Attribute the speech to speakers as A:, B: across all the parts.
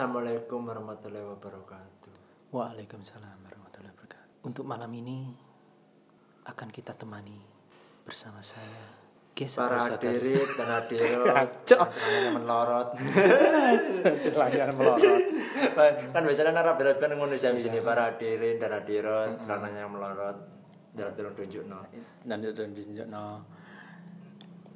A: Assalamualaikum warahmatullahi wabarakatuh.
B: Waalaikumsalam warahmatullahi wabarakatuh. Untuk malam ini akan kita temani bersama saya Geser
A: Para
B: Rusakar.
A: hadirin dan hadirat
B: Kacau.
A: yang melorot.
B: Celananya melorot.
A: kan biasanya narapidana kan ngono sih sini
B: Iya.
A: para hadirin dan hadirat celananya melorot. Jalan turun tunjuk no.
B: Nanti itu ditunjukno.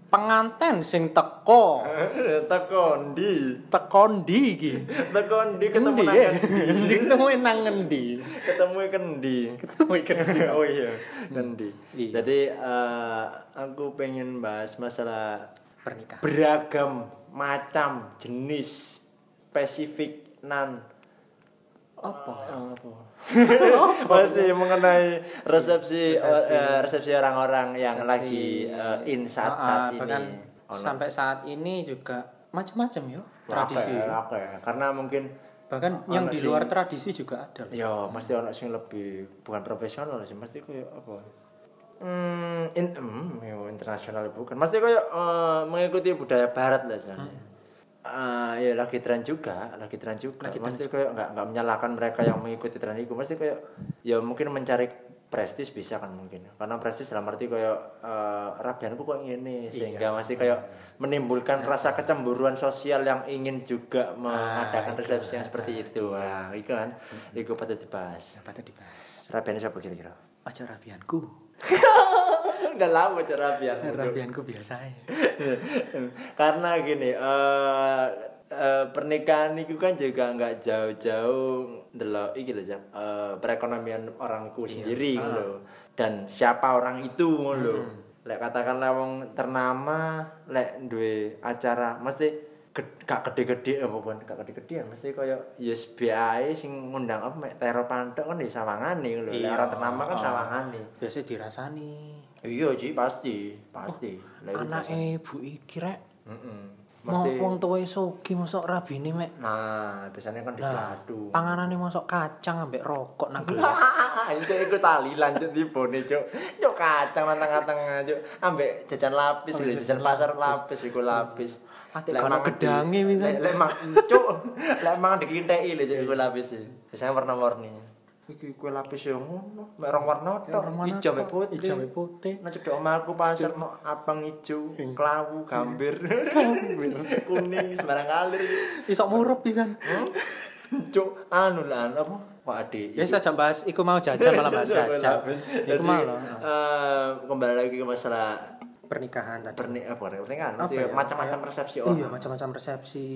B: Penganten sing teko,
A: Tekondi,
B: teko ndi iki?
A: tekondi ketemu
B: Endi ya?
A: nang
B: Ketemu nang ngendi?
A: ketemu kendi.
B: Ketemu iki.
A: oh iya, kendi.
B: Iya.
A: Jadi eh, aku pengen bahas masalah
B: Pernikahan.
A: beragam macam jenis spesifik nan
B: Oh, Apa?
A: ya? pasti mengenai resepsi eh, resepsi orang-orang yang lagi eh, in saat
B: Ah,
A: saat
B: bahkan
A: ini
B: sampai saat ini juga macam-macam yo tradisi.
A: Oke, oke. ya, karena mungkin
B: Bahkan yang di luar tradisi juga ada.
A: ya mesti ono sing lebih bukan profesional sih mesti koyo apa hmm, in, hmm, ya, internasional bukan mesti koyo eh, mengikuti budaya barat lah sebenarnya Ah, ya lagi tren juga, lagi tren juga. mesti koyo nggak nggak menyalahkan mereka yang mengikuti tren itu, mesti koyo ya mungkin mencari prestis bisa kan mungkin. Karena prestis dalam arti koyo eh, rabianku kok ngene sehingga mesti koyo menimbulkan rasa kecemburuan sosial yang ingin juga mengadakan resepsi yang seperti itu. Wah, itu kan. Iku patut dibahas.
B: Apa tadi dibahas?
A: Rabian siapa kira-kira?
B: Aja rabianku.
A: Udah lama cara rabian.
B: Rabianku biasanya.
A: karena gini eh eh, pernikahan itu kan juga nggak jauh-jauh delok iki lho Jap, eh, perekonomian orangku sendiri gitu lho. dan siapa orang itu ngono lho lek katakanlah wong ternama lek duwe acara mesti ged- gak gede-gede eh, apa bukan gak gede-gedean mesti koyo yes BAE sing ngundang apa mek Tero Pantok kan di Sawangane lho lek orang ternama kan Sawangane
B: Biasanya dirasani.
A: iya Ji pasti pasti lek itu
B: Anak ibu iki rek.
A: Mm-mm.
B: Mau
A: Mesti-
B: wong tuwa sogi mosok rabine mek.
A: Nah, biasanya kan diceladu.
B: Panganane mosok kacang ambek rokok nang gelas.
A: Nah, itu ikut tali lanjut di bone, Cuk. Cuk kacang nang tengah-tengah, Cuk. Ambek jajan Oh, lapis, Ah, lho, jajan pasar lapis iku lapis.
B: Ate
A: Lek
B: karo
A: mangan di-
B: gedange bisa.
A: Lek lek mang- Cuk, lek mangan diklinteki lho, Cuk, iku lapis. e. Biasanya warna-warni. Iki kue lapis yang ngono, mek rong warna tok, ijo mek putih.
B: Ijo ambek putih.
A: Nah, cedok omahku pasar no abang ijo, kelawu, gambir, kuning, sembarang kalir. Cuk.
B: Isok murup pisan.
A: Cuk, anu lah anu apa? Pak Ade.
B: Ya saja bahas iku mau jajan malah bahas jajan. Iku
A: Jadi,
B: mau loh.
A: eh, kembali lagi ke masalah
B: Pernikahan tadi.
A: perni apa ya, pernikahan
B: Apa
A: mesti
B: ya?
A: macam-macam persepsi orang.
B: Iya, macam-macam resepsi,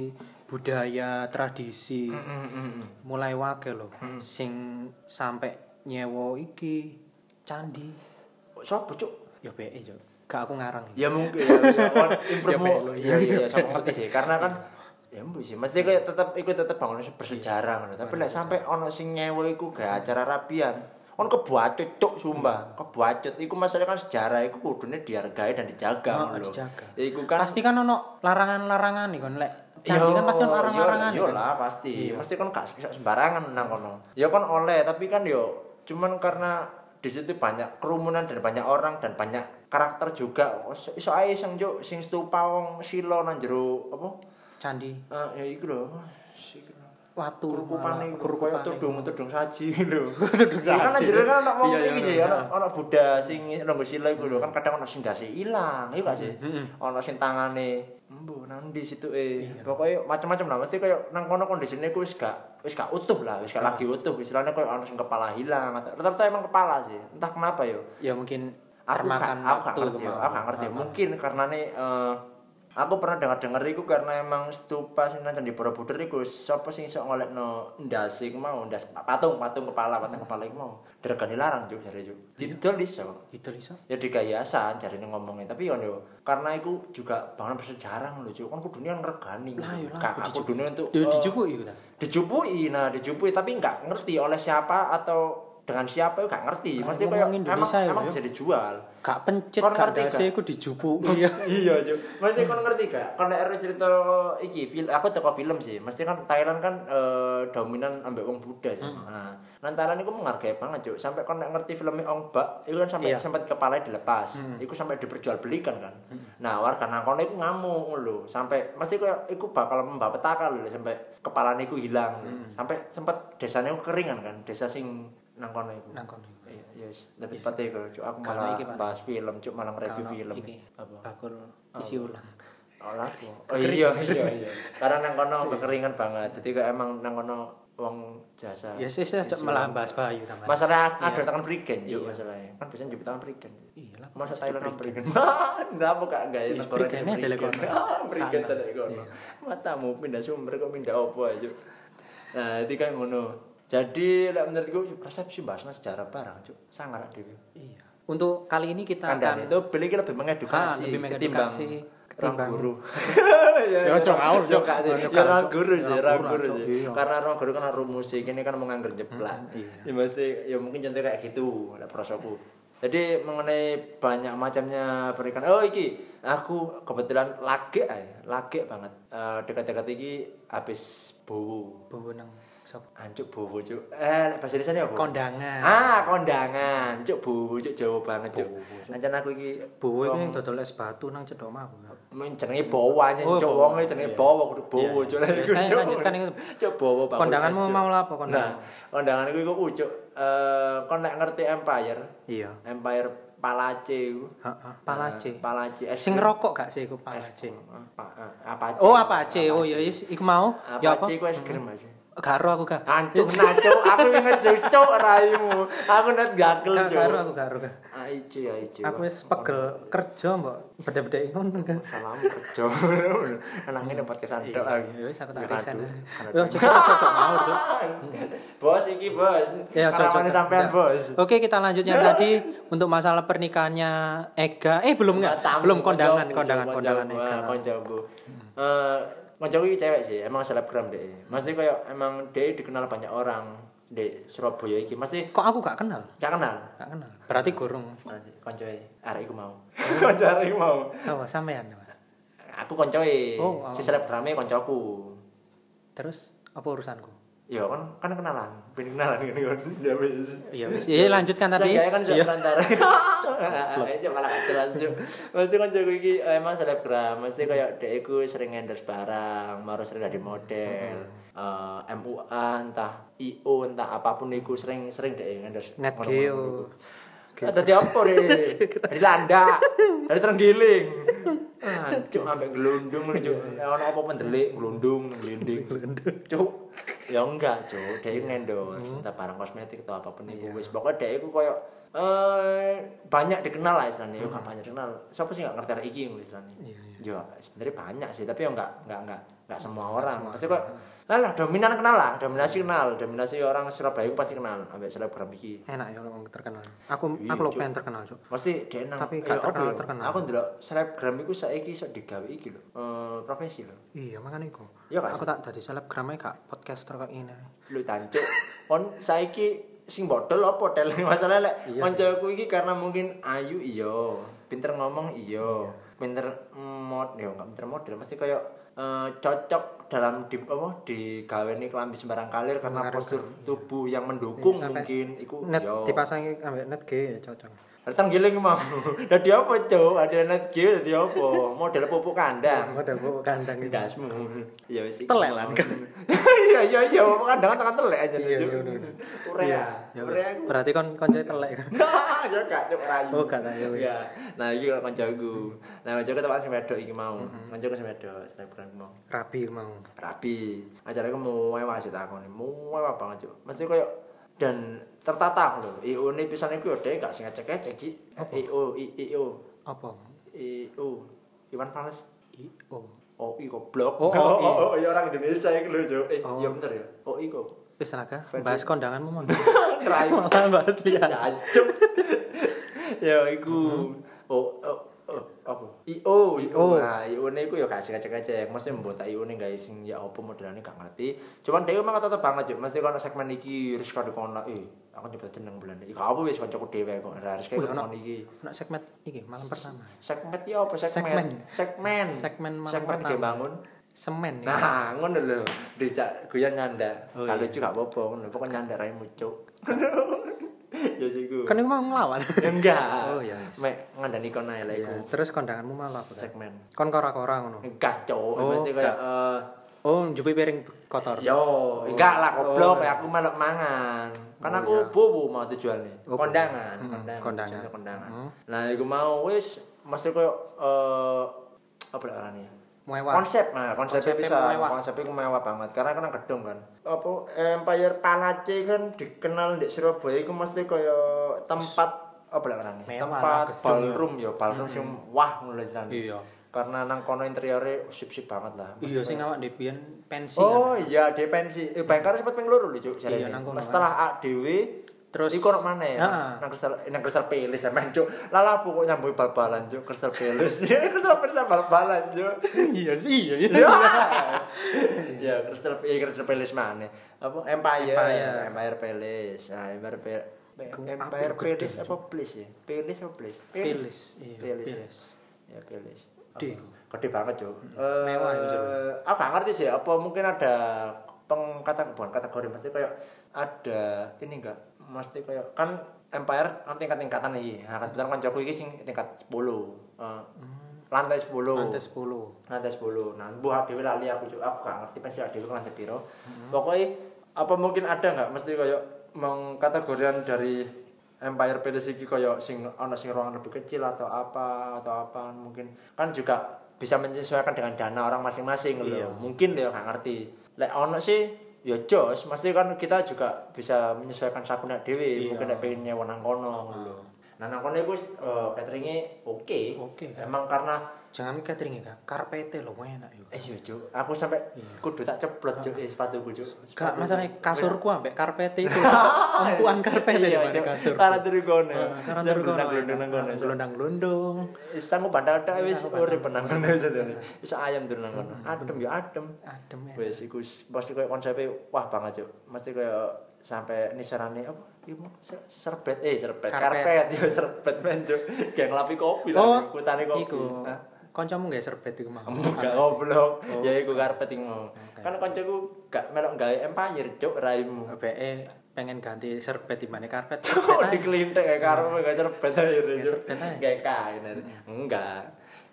B: budaya, tradisi.
A: Mm,
B: Mulai wake loh. Sing sampai nyewo iki candi.
A: Sopo, Cuk?
B: Ya be yo. Gak aku ngarang. iki.
A: Ya mungkin ya, ya, on
B: Ya, Pak, lo,
A: improve. Iya iya iya, sama ngerti sih karena kan ya mbu sih mesti kayak tetap ikut tetap bangun bersejarah ngono. Tapi lek sampai ono sing nyewa iku gak acara rapian. Kon kebuacut cuk sumpah, kebuacut iku masalah kan sejarah iku kudune dihargai dan dijaga
B: Oh,
A: ngono lho.
B: dijaga.
A: Iku kan
B: pasti kan ono larangan-larangan nih kon lek candi kan pasti ono
A: Yo,
B: larangan-larangan
A: yo, yo lah pasti mesti kan gak bisa sembarangan nang kono ya kan oleh tapi kan yo cuman karena di situ banyak kerumunan dan banyak orang dan banyak karakter juga iso iso ae sing juk sing stupa wong sila nang jero apa
B: candi
A: Eh, ya iku lho apa? Iku lho.
B: watu
A: kurkupane
B: malah,
A: iku koyo
B: kurkupane.
A: tudung tudung saji lho tudung saji kan nang jero kan ana wong
B: Iya, iya,
A: iki sih ana ana Buddha sing longgo sila iku lho kan kadang ana sing dasi ilang iya gak sih ana sing tangane embo nang ndi situke pokoke macam-macam lah mesti koyo nang kono kondisine ku wis gak wis gak utuh lah wis gak lagi utuh istilahnya koyo ana sing kepala hilang atau rata-rata emang kepala sih entah kenapa yo
B: ya mungkin
A: aku
B: termakan
A: gak, aku gak
B: waktu
A: ngerti, aku gak ngerti. Mungkin karena nih eh, aku pernah dengar-dengar iku karena emang stupa sing nang Candi Borobudur iku sapa sing iso ngolekno ndas iku mau ndas patung patung kepala patung kepala iku mau diregani larang juk jare juk.
B: Iya.
A: Didol iso.
B: itu iso
A: Ya digayasan jarine ngomongnya tapi yo yo karena iku juga bangunan bersejarah lho juk. Kan kudune ngregani.
B: Lah, yo lah,
A: Kak
B: aku
A: aku kudune untuk
B: Yo
A: eh,
B: dijupuk iku ta
A: dijupui nah dijupui tapi nggak ngerti oleh siapa atau dengan siapa itu gak ngerti.
B: Ayo
A: Mesti
B: ngomong
A: kayak emang,
B: Indonesia ya,
A: emang
B: yo.
A: bisa dijual.
B: Gak pencet,
A: Kon
B: gak
A: ngerti
B: dasi, aku dijupu. Iya.
A: iya cuy mesti kon ngerti gak kon nek ero cerita iki film aku teko film sih mesti kan Thailand kan eh, dominan ambek wong Buddha sih
B: Hmm.
A: nah nang Thailand iku menghargai banget cuy sampai kon nek ngerti filmnya Ong Bak itu kan sampai
B: Iya. Hmm.
A: sempat kepala dilepas iku sampai diperjualbelikan kan nah warga nang kono iku ngamuk lho sampai mesti koyo iku bakal membapetaka lho sampai kepalane iku hilang
B: Hmm.
A: sampai sempat desanya iku keringan kan desa sing nang kono iku
B: Nang kono iku.
A: Iya, iya, lebih pate kok, Cuk. Aku
B: Kalau
A: malah
B: iki, Pak.
A: bahas film, cuk malah review
B: Kalau
A: film.
B: iki,
A: Apa?
B: Bakul isi ulang.
A: Olah. Oh iya iya iya. Karena nang kono kekeringan banget. Jadi kayak emang nang kono wong jasa.
B: Ya sih saya
A: Isi
B: malah
A: ulang.
B: bahas Bayu tambah.
A: Masalah ada tangan prigen yuk masalahnya. Kan biasanya jepit tangan prigen.
B: Iya lah.
A: Masa Thailand nang prigen. Ndak apa kak enggak ya
B: Iya,
A: nang kono
B: prigennya
A: prigen.
B: telekon.
A: Ah, Prigen
B: Sana.
A: telek kono. Matamu pindah sumber kok pindah opo aja. Nah, itu kayak ngono. Jadi lek menurutku persepsi bahasnya sejarah barang cuk. Sangar dhewe.
B: Iya. Untuk kali ini kita
A: Kandang
B: akan
A: itu beli iki lebih mengedukasi
B: Ah, lebih
A: ketimbang
B: mengedukasi,
A: ketimbang
B: ketimbang-
A: guru.
B: Ya, cok, ngawur, cok.
A: Gak sih.
B: Cok,
A: Ya orang
B: cok.
A: guru sih,
B: Ya,
A: orang
B: guru,
A: guru
B: cok,
A: sih.
B: iya.
A: Karena orang guru kan orang musik ini kan menganggur jeplak.
B: iya.
A: Ya mesti ya mungkin contoh kayak gitu lah prosoku. Jadi mengenai banyak macamnya perikan. Oh iki aku kebetulan lagi ay, lagi banget. Eh, dekat-dekat iki habis bowo.
B: bobo nang sop-
A: Ancuk bowo cuk. Eh lek bahasa Indonesia ini apa?
B: kondangan.
A: Ah, kondangan. Cuk bowo cuk Jawa banget cuk. Ancen aku iki
B: Bowo itu yang dodol es batu nang cedok mah.
A: Men jenenge bawa
B: Oh,
A: nyen cuk
B: bawa.
A: wong e jenenge
B: Iya.
A: bawa kudu bawa
B: Iya,
A: cuk.
B: iya. Saya lanjutkan itu.
A: Cuk bawa bawa.
B: Kondanganmu
A: Cuk.
B: mau apa
A: Nah,
B: kondangan?
A: kondangan iku iku ucuk eh kon nek ngerti Empire,
B: Iya.
A: Empire Palace iku.
B: Heeh. Palace.
A: Eh, Palace. es-
B: Sing ngerokok gak sih iku Palace?
A: Eh, pa- eh, Apache.
B: Oh apa Ace? Oh ya is iku mau. Ya apa? Hmm.
A: Apache iku es krim Mas.
B: Gak ero aku gak.
A: Hancur naco, aku inget cuk cuk raimu. Aku net gakel
B: Gak
A: cuk.
B: gak ero aku gak ero. gak.
A: Aici aici.
B: Aku wis pegel kerja mbok beda-beda ngono kan.
A: salam kerja anaknya dapat kesan
B: Iya,
A: dok
B: iya, wis aku tak
A: Aduh,
B: resign.
A: aduh.
B: Yo cocok cocok mau cocok.
A: bos iki bos
B: Ya, cocok.
A: karawannya sampean
B: Ya.
A: bos
B: Oke, kita lanjutnya tadi untuk masalah pernikahannya Ega. Eh, belum enggak?
A: Tamu,
B: Belum kondangan,
A: konjoku,
B: kondangan,
A: konjoku,
B: kondangan Hmm. Ega.
A: ah, konjoku Eh, konjoku iki cewek sih emang selebgram deh maksudnya kayak emang dia dikenal banyak orang di Surabaya iki mesti
B: Kok aku gak kenal?
A: gak kenal
B: Gak kenal. Berarti gorong.
A: koncoe arek iku mau konco arek iku mau
B: Sama sampean, Mas.
A: aku koncoe
B: Oh,
A: si selebgramnya koncoku
B: Terus apa urusanku?
A: Iya kan kan kenalan, ben kenalan kan kan. Ya wis.
B: Iya, wis. Iya, lanjutkan tadi.
A: Seenggaknya kan
B: Iya.
A: sudah antara. Aja Ah, malah gak jelas cuk. Mesti kan jago iki eh, emang selebgram, mesti
B: Hmm.
A: kayak dek iku sering endorse barang, maru sering dari model.
B: Hmm.
A: eh, MUA entah IO entah apapun iku sering sering dek endorse.
B: Net
A: ngono-ngono
B: Geo.
A: iku. Ah, Tadi apa deh? Dari landak, dari terenggiling. Ah, Cuk ambek gelundung lho cuk. Ono apa pendelik gelundung gelinding. kan- Cuk. Ya enggak, Cuk. Dia
B: Hmm.
A: ngendos entah barang kosmetik atau apapun itu. Wis pokoke dia iku koyo eh banyak dikenal lah istilahnya. Yo gak banyak dikenal. Siapa sih gak ngerti arek iki ngono istilahnya.
B: Hmm. Iya,
A: Yo
B: iya.
A: sebenarnya banyak sih, tapi yo enggak enggak enggak enggak semua orang. Pasti kok lah lah dominan kenal lah, dominasi kenal, dominasi orang Surabaya iku pasti kenal ambek selebgram iki.
B: Enak ya kalau terkenal. Aku
A: Iya,
B: aku lo
A: Cuk.
B: pengen terkenal, Cuk.
A: Mesti dia nang
B: Tapi
A: eh,
B: gak
A: apa
B: terkenal-
A: ya?
B: terkenal.
A: Aku ndelok selebgram iku saiki iso digawe iki lho. Eh profesi lho.
B: Iya, makanya iku.
A: Iya, Kak.
B: Aku tak dadi selebgram ae gak podcaster kok ini.
A: Lu tancuk. Kon saiki sing bodol apa tel masalah lek
B: Iya sih.
A: koncoku iki karena mungkin ayu iya, pinter ngomong iya, pinter mod ya enggak pinter model mesti kayak eh, cocok dalam di apa di klambi sembarang kalir karena postur tubuh yang mendukung
B: Iya, sampai
A: mungkin iku
B: Net
A: iya.
B: dipasangi ambek net G ya cocok.
A: Datang giling mau. Dadi apa, Cuk? Ada net gill dadi apa? Model pupuk kandang.
B: Model bu kandang gitu.
A: Gasmu. Ya wis. iki.
B: Telek lan, kan.
A: Iya iya iya, kadang tangan telek aja
B: Iya,
A: Cuk.
B: iya, bener.
A: Korea.
B: Ya
A: Korea.
B: wis. Berarti kon koncoe telek. kan?
A: Nah, ya gak cuk rayu.
B: Oh, gak, tak, ya wis.
A: Ya. Nah, iki kok kancaku. Nah, kancaku tempat sing wedok iki mau.
B: Mhm.
A: Kancaku sing wedok, selebgram mau.
B: Rabi mau.
A: Rapi. Acara iku mewah sih takon. Mewah banget cuk. Mesti koyo dan tertata lho. IO ne pisan iku yo dhek gak sing ngecek-ngecek Ci.
B: Oh,
A: IO I- IO
B: Apa?
A: IO Iwan Fals.
B: I um.
A: Oh,
B: O.
A: i goblok.
B: Oh, oh, i.
A: oh, i orang Indonesia iku lho, Cuk. Eh,
B: Oh.
A: ya bener ya. Oh, i kok.
B: Wis tenaga,
A: Fancy.
B: bahas kondanganmu mau.
A: Rai
B: Malah bahas Mm-hmm.
A: Cacuk. ya iku. Oh, oh, oh, apa? IO,
B: IO.
A: Nah, IO ne iku ya gak cek-cek. Mesti mbok tak IO ne gawe sing ya apa modelane gak ngerti. Cuman dhewe memang tetep banget, Cuk. Mesti kono segmen iki harus kono kono eh aku nyebut jeneng bulan iki. Gak apa wis kancaku dhewe kok harus kayak
B: Wih,
A: ngono iki.
B: Anak segmen iki malam pertama.
A: Segmen ya apa segmen? Segmen.
B: Segmen malam
A: segmen
B: pertama.
A: dibangun.
B: Semen ya.
A: Nah, ngono lho. Dijak guyon nyandak.
B: Oh,
A: Kalau
B: iya.
A: lucu gak apa-apa, ngono. Pokoke nyandak raimu, Cuk. Ya sih gue.
B: Kan iku mau ngelawan.
A: Ya, enggak.
B: Oh, iya.
A: Mek ngandani kono ae lah iku.
B: Terus kondanganmu malah apa? Kak?
A: Segmen.
B: Kon kora-kora ngono.
A: Enggak, Cuk.
B: Oh,
A: Mesti kayak eh,
B: Oh, njupuk piring kotor.
A: Yo, enggak lah goblok, aku malah mangan. Kan
B: Oh,
A: aku
B: iya.
A: bobo mau tujuannya.
B: Oh,
A: kondangan,
B: bobo.
A: kondangan,
B: Mm, kondangan.
A: tujuannya kondangan.
B: Mm.
A: Nah, iku mau wis mesti koyo eh apa lah arane?
B: Mewah.
A: Konsep, nah, konsepnya
B: Konsepnya
A: bisa,
B: mewah.
A: konsepnya iku mewah banget. Karena kan gedung kan. Apa Empire Palace kan dikenal di Surabaya iku mesti koyo tempat apa lah arane?
B: Mewah
A: Tempat
B: lah, gedung.
A: ballroom ya, ballroom sing wah ngono lho jenenge.
B: Iya.
A: Karena nang kono interiore sip-sip banget lah.
B: Iya sing awak ndek biyen pensi.
A: Oh iya, DP pensi. Eh Bangkar sempat ping loro lho, Cuk, jarene.
B: Iya, nang kono,
A: Setelah A dhewe
B: Terus-
A: iku ono maneh.
B: Heeh.
A: Nang kristal nang kristal pelis sampean, Cuk. Lala aku kok nyambui bal-balan, Cuk, kristal pelis. Ya kristal pelis sama bal-balan, Cuk.
B: Iya sih, iya. iya.
A: Ya. Ya, kristal pelis kristal pelis maneh. Apa Empire,
B: Empire.
A: Empire pelis. Nah, Empire pelis. Empire
B: apel gede,
A: pelis apa pelis ya? Pelis apa pelis?
B: Pelis, iya,
A: Pelis. ya.
B: pelis.
A: Ya pelis.
B: Gede.
A: Apa? gede banget cuk
B: Mewah itu, Cuk.
A: Eh, aku gak ngerti sih apa mungkin ada pengkata bukan kategori mesti kayak ada ini enggak mesti kayak kan empire kan tingkat-tingkatan iki nah kebetulan kan Jokowi iki sing tingkat 10 Eh, lantai 10
B: Hmm. Lantai 10.
A: lantai 10 nah buah dhewe lali aku Cuk. aku gak ngerti pensi dhewe ke lantai piro
B: Mm-hmm.
A: pokoknya apa mungkin ada nggak mesti kayak mengkategorian dari Empire Palace iki kayak sing ana sing ruangan lebih kecil atau apa atau apa mungkin kan juga bisa menyesuaikan dengan dana orang masing-masing
B: Iya.
A: loh mungkin deh nggak ngerti lek ono sih ya jos mesti kan kita juga bisa menyesuaikan sakunya dewi
B: Iya.
A: mungkin nek pengen nyewa nang kono ngono lho nah nang kono iku eh, cateringnya oke
B: Oke, kan.
A: emang karena
B: Jangan catering ya, Kak. Karpete lho enak yo.
A: Eh iya cuk, aku sampai kudu tak ceplok cuk eh, sepatuku cuk. Sepatuku.
B: Gak masalah kasurku ambek karpete itu. Empuan karpete
A: Iya,
B: daripada
A: Cuk.
B: kasur.
A: Karena turu kono.
B: Karena
A: Saya
B: turu kono.
A: gelundang-gelundung nang kono, Cuk.
B: Gelundang-gelundung.
A: Wis sanggup bandar tok wis urip nang kono jadinya. Wis ayam turu nang kono. Adem yo adem.
B: Adem ya.
A: Wis iku s- pasti koyo konsepe wah banget cuk. Mesti koyo sampai nisarane apa iku mau? Ser- serbet eh serbet
B: Karpet.
A: karpet yo serbet men cuk. Kayak ngelapi kopi
B: Oh,
A: lah kutane kopi. Ah.
B: Iku.
A: Hah?
B: Kancamu gak serbet iku mah.
A: Enggak goblok.
B: Oh.
A: Ya iku karpet iki mau. Kan koncoku gak melok gawe empire cuk raimu.
B: BE pengen ganti serbet dimana karpet.
A: Cuk dikelintek kayak karo gak serbet aja
B: Gak serbet Oh. aja.
A: Gak kain aja. Enggak.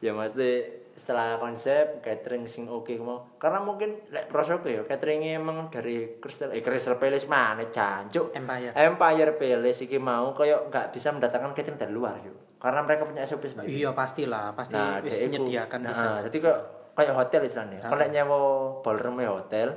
A: Ya mesti setelah konsep catering sing oke mau karena mungkin lek prosoku ya cateringnya emang dari Crystal eh Crystal Palace mana jancuk
B: Empire.
A: Empire Palace iki mau koyo nggak bisa mendatangkan catering dari luar yuk karena mereka punya SOP sendiri
B: Iya pastilah, pasti wis
A: dia iku-
B: menyediakan
A: nah,
B: bisa.
A: jadi kok kayak hotel istilahnya kalau nek nyewa ballroom ya hotel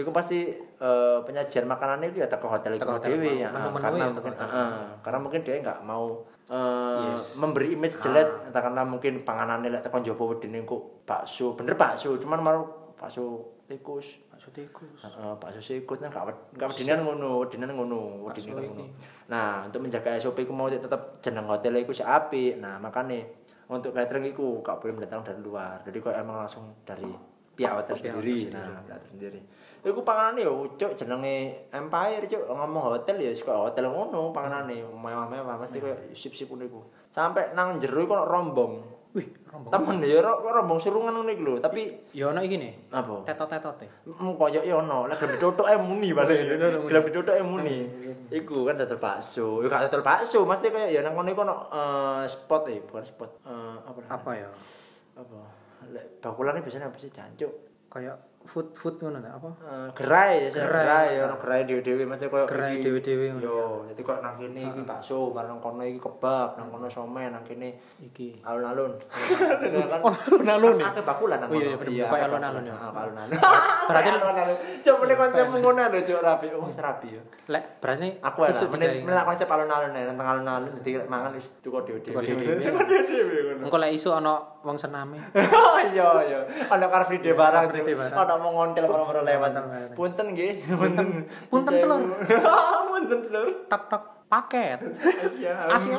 A: itu pasti eh, penyajian makanannya itu ya teko hotel itu
B: Teko hotel
A: dewi
B: mau.
A: ya
B: Menu-menu
A: karena
B: ya teko
A: mungkin
B: hotel.
A: heeh, karena mungkin dia nggak mau eh,
B: Yes. Ah.
A: memberi image jelek katakanlah mungkin panganannya lek tekan jopo wedine kok bakso bener bakso cuman mau bakso tikus
B: Maksudnya iku.
A: Heeh, bakso sikut kan gak wed- gak wedinan ngono, wedinan ngono, wedinan
B: Bakso
A: ngono. Nah, untuk menjaga SOP ku mau tetap jeneng hotel iku sik apik. Nah, makane untuk catering iku gak boleh mendatang dari luar. Jadi kok emang langsung dari pihak hotel sendiri. Nah, pihak hotel sendiri. Iku panganane yo cuk jenenge Empire cuk ngomong hotel ya suka hotel ngono panganane mewah-mewah mesti koyo sip-sip ngono iku. Sampai nang jero iku ono rombong.
B: Wih, rombong.
A: Temen ya ro- rombong surungan ngono iku lho, tapi
B: Ya ono iki nih.
A: apa?
B: Tetot-tetote.
A: Mm, koyo yo ono, lek gelem ditotok e muni balik.
B: Oh, Iya, ditotok muni.
A: Gelem ditotok e muni. Iku kan dodol bakso. Yo gak dodol bakso, mesti koyo ya nang kono iku ono eh, spot e, bukan spot. Eh, apa? namanya?
B: Apa ya?
A: Apa? Lek bakulane biasanya apa sih jancuk?
B: Kayak food food ngono ta apa?
A: Eh, gerai ya, saya
B: Gerai.
A: gerai ya ono gerai dhewe-dhewe mesti koyo
B: Gerai
A: iki.
B: dhewe-dhewe ngono.
A: Yo, dadi koyo nang kene iki bakso, bar nang kono iki kebab, nang kono somen, nang kene
B: Iki.
A: alun-alun.
B: alun-alun ya?
A: Akeh bakulan nang
B: Oh iya,
A: kono.
B: iya, bener. Kayak
A: akeh
B: alun-alun
A: bakulan.
B: ya.
A: Ah, Alun-alun. Berarti alun-alun. Cuk mene konsepmu ngono lho, Cuk rapi. Oh, wis rapi ya.
B: Lek berani
A: Aku lah,
B: isuk digawe.
A: mene mene lak konsep alun-alun ya, nang alun-alun dadi lek mangan wis tuku
B: Tuku
A: dhewe-dhewe.
B: dhewe-dhewe.
A: dhewe ngono.
B: Engko lek isu ana wong sename.
A: Oh iya iya. Ana Car Free Day barang
B: Car
A: Cuk.
B: Free Day
A: Ana
B: barang.
A: mau ngontel moro-moro lewat.
B: Ngontel, ngontel.
A: Punten nggih, punten.
B: Punten, selur.
A: Punten selur.
B: Tok tok. paket
A: Iya.
B: Asyik.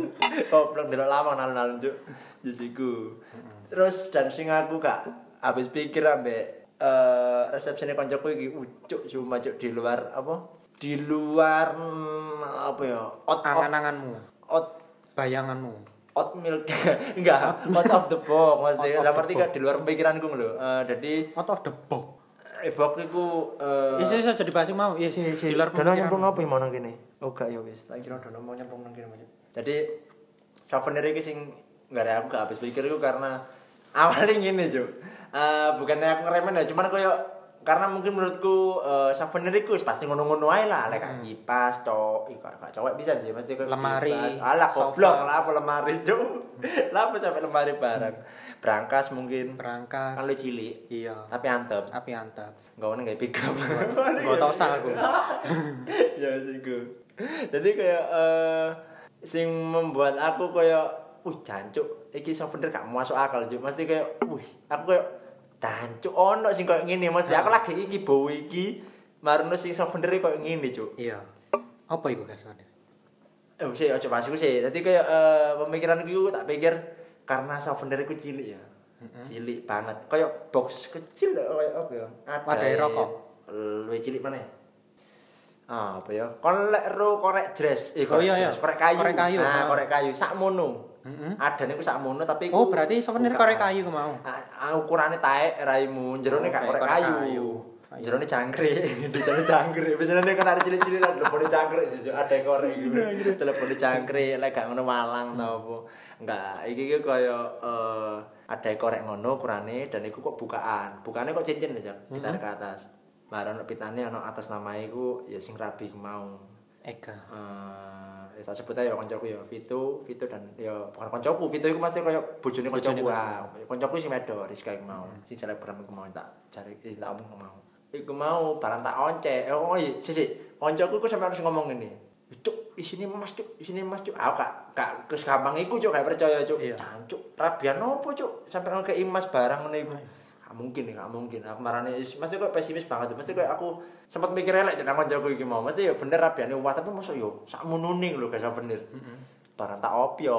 A: Goblok delok lawang alun-alun cuk. Jisiku. Terus dan sing aku Kak, habis pikir ambek eh resepsinya koncoku iki ucuk cuma cuk di luar apa? Di luar mm, apa ya? Out of-
B: Angan-anganmu.
A: Out
B: bayanganmu
A: out milk enggak out of the box maksudnya
B: Out of
A: dalam
B: the
A: arti gak di luar pikiranku lho Eh, jadi
B: out of the box
A: evok iku eh,
B: Isi saja dibahas mau. Isi
A: Si-
B: di luar
A: dono
B: pemikiran.
A: nyemplung apa mau nang kene? Oh gak ya wis, tak kira dono mau nyemplung nang kene. Mas. Jadi souvenir iki sing nggak ada aku gak habis pikir iku karena awalnya ngene, Cuk. Eh bukannya aku ngeremen ya, cuman koyo karena mungkin menurutku eh souvenir iku wis pasti ngono-ngono ae lah, lek kayak kipas, cok, ih gak gak cowek bisa sih mesti koyo
B: Lemari,
A: kipas. Alah
B: sofa.
A: goblok lah apa lemari, Cuk. Lah apa sampai lemari barang. Hmm. Berangkas mungkin.
B: berangkas
A: Kan lu cilik,
B: iya
A: tapi antep.
B: api antap
A: Gak ono gak pick up.
B: gak tau sang aku
A: ya sih gue jadi kayak eh sing membuat aku kayak wih jancuk iki souvenir gak masuk akal cuk mesti kayak wih aku kayak jancuk ono sing kayak ngene mesti aku lagi iki bawa iki marno sing souvenir kayak ngene cuk
B: iya apa itu guys
A: eh sih ojo masuk sih jadi kayak eh pemikiran gue tak pikir karena souvenir ku cilik ya cilik banget kayak box kecil lah kayak apa ya ada
B: Wadahnya rokok.
A: lebih cilik mana ya ah, apa ya kon lek ro korek dress eh
B: Oh,
A: korek
B: iya, iya.
A: dress, korek kayu
B: Korek kayu,
A: nah
B: ah.
A: korek kayu sakmono
B: Mm-mm.
A: ada niku sakmono tapi
B: oh
A: ku-
B: berarti souvenir
A: bukan.
B: korek kayu ku mau
A: Ah, ah, ukurannya taek raimu jerone
B: Oh,
A: gak
B: kayak
A: korek
B: korek
A: kayu
B: kayu.
A: jerone cangkrik di jerone cangkrik biasanya dia kena ada cilik-cilik lah telepon cangkrik jujur ada korek gitu telepon cangkrik lek gak ngono malang tau apa enggak iki iki koyo eh ada korek ngono ukurane dan iku kok bukaan bukaannya kok cincin aja ditarik ke atas barang ono pitane ono atas nama iku ya sing rabi ku mau
B: Ega
A: Eh, ya tak sebut aja ya koncoku ya Vito, Vito dan ya bukan koncoku, Vito itu mesti kayak bojone koncoku. Ah, koncoku Hmm. sing wedo Rizka iku mau. Sing selebgram iku mau tak cari eh, tak omong mau. Iku mau barang tak once. Eh, Oh, iya, sisi. Koncoku iku sampe harus ngomong ngene. Cuk, isine Mas Cuk, isine Mas Cuk. Aku gak gak kes gampang iku Cuk, gak percaya Cuk.
B: Iya.
A: Dan, Cuk, rabian opo Cuk? Sampai ngekei Mas barang ngene iku. Gak mungkin, gak mungkin. Aku marane is- mesti kok pesimis banget. Mesti kok aku sempat mikir elek jeneng koncoku iki mau. Mesti ya bener rabiane wah tapi mosok yo sakmono ning lho gak bener. Barang tak opio.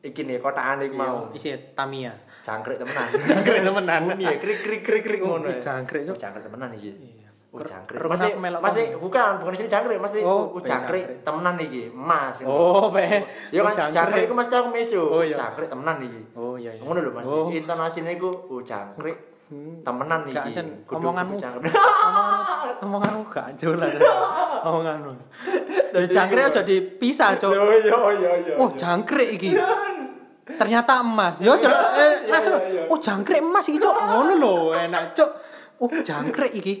A: Iki nih kotaan iki mau.
B: mau isi Tamiya
A: Jangkrik temenan. Jangkrik
B: temenan.
A: Muni ya krik krik krik krik
B: Oh,
A: ngono. ya.
B: jangkrik, Cuk.
A: Oh, Jangkrik temenan iki.
B: Iya.
A: Oh jangkrik.
B: Rumah
A: Mesti
B: aku melok
A: mesti bukan bukan di sini jangkrik, mesti
B: Oh,
A: oh,
B: ben
A: jangkrik
B: jangkrik.
A: temenan iki. Mas. ini.
B: oh pe
A: Ya kan jangkrik iku mesti aku mesu.
B: Oh, iya.
A: Jangkrik temenan iki.
B: Oh, iya, iya.
A: Ngono lho Mas.
B: Oh.
A: Intonasine iku oh jangkrik
B: Hmm.
A: temenan iki.
B: Gak, Cen,
A: Kudu-
B: omonganmu.
A: kudu jangkrik.
B: omonganmu omonganmu gak jolan omonganmu Ya, jangkrik aja dipisah Ah, cok
A: Yo yo yo yo.
B: oh jangkrik iki ternyata emas yo cok
A: Iya,
B: eh, langsung,
A: iya, iya.
B: oh jangkrik emas iki cok ngono lho enak cok oh jangkrik iki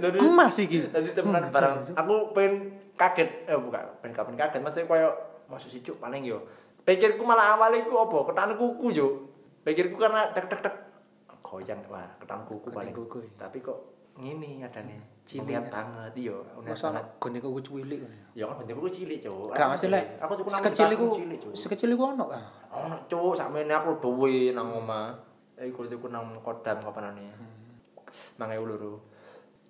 A: Jadi-
B: emas iki Hmm.
A: Tadi temenan bareng. Aku pengen kaget, eh bukan, pengen kapan kaget. Maksudnya koyo maksud si cuk paling yo. Pikirku malah awal iku apa? Ketan kuku yo. Pikirku karena tek tek tek goyang wah ketan kuku
B: Ketan
A: paling.
B: kuku, ya.
A: Tapi kok ngini adane.
B: Cilik.
A: Cilik banget yo. Unik
B: masa
A: banget.
B: gonti kuku cilik ngono ya?
A: Ya kan bentuk kuku cilik, Cuk.
B: gak masih lek
A: Aku tuku nang
B: sekecil
A: cetak
B: iku
A: aku cilik, Cuk.
B: sekecil iku ono ah
A: Ono Cuk, sakmene aku duwe nang omah. Eh, Iku tuku nang kodam kapanane. Mangai uluru.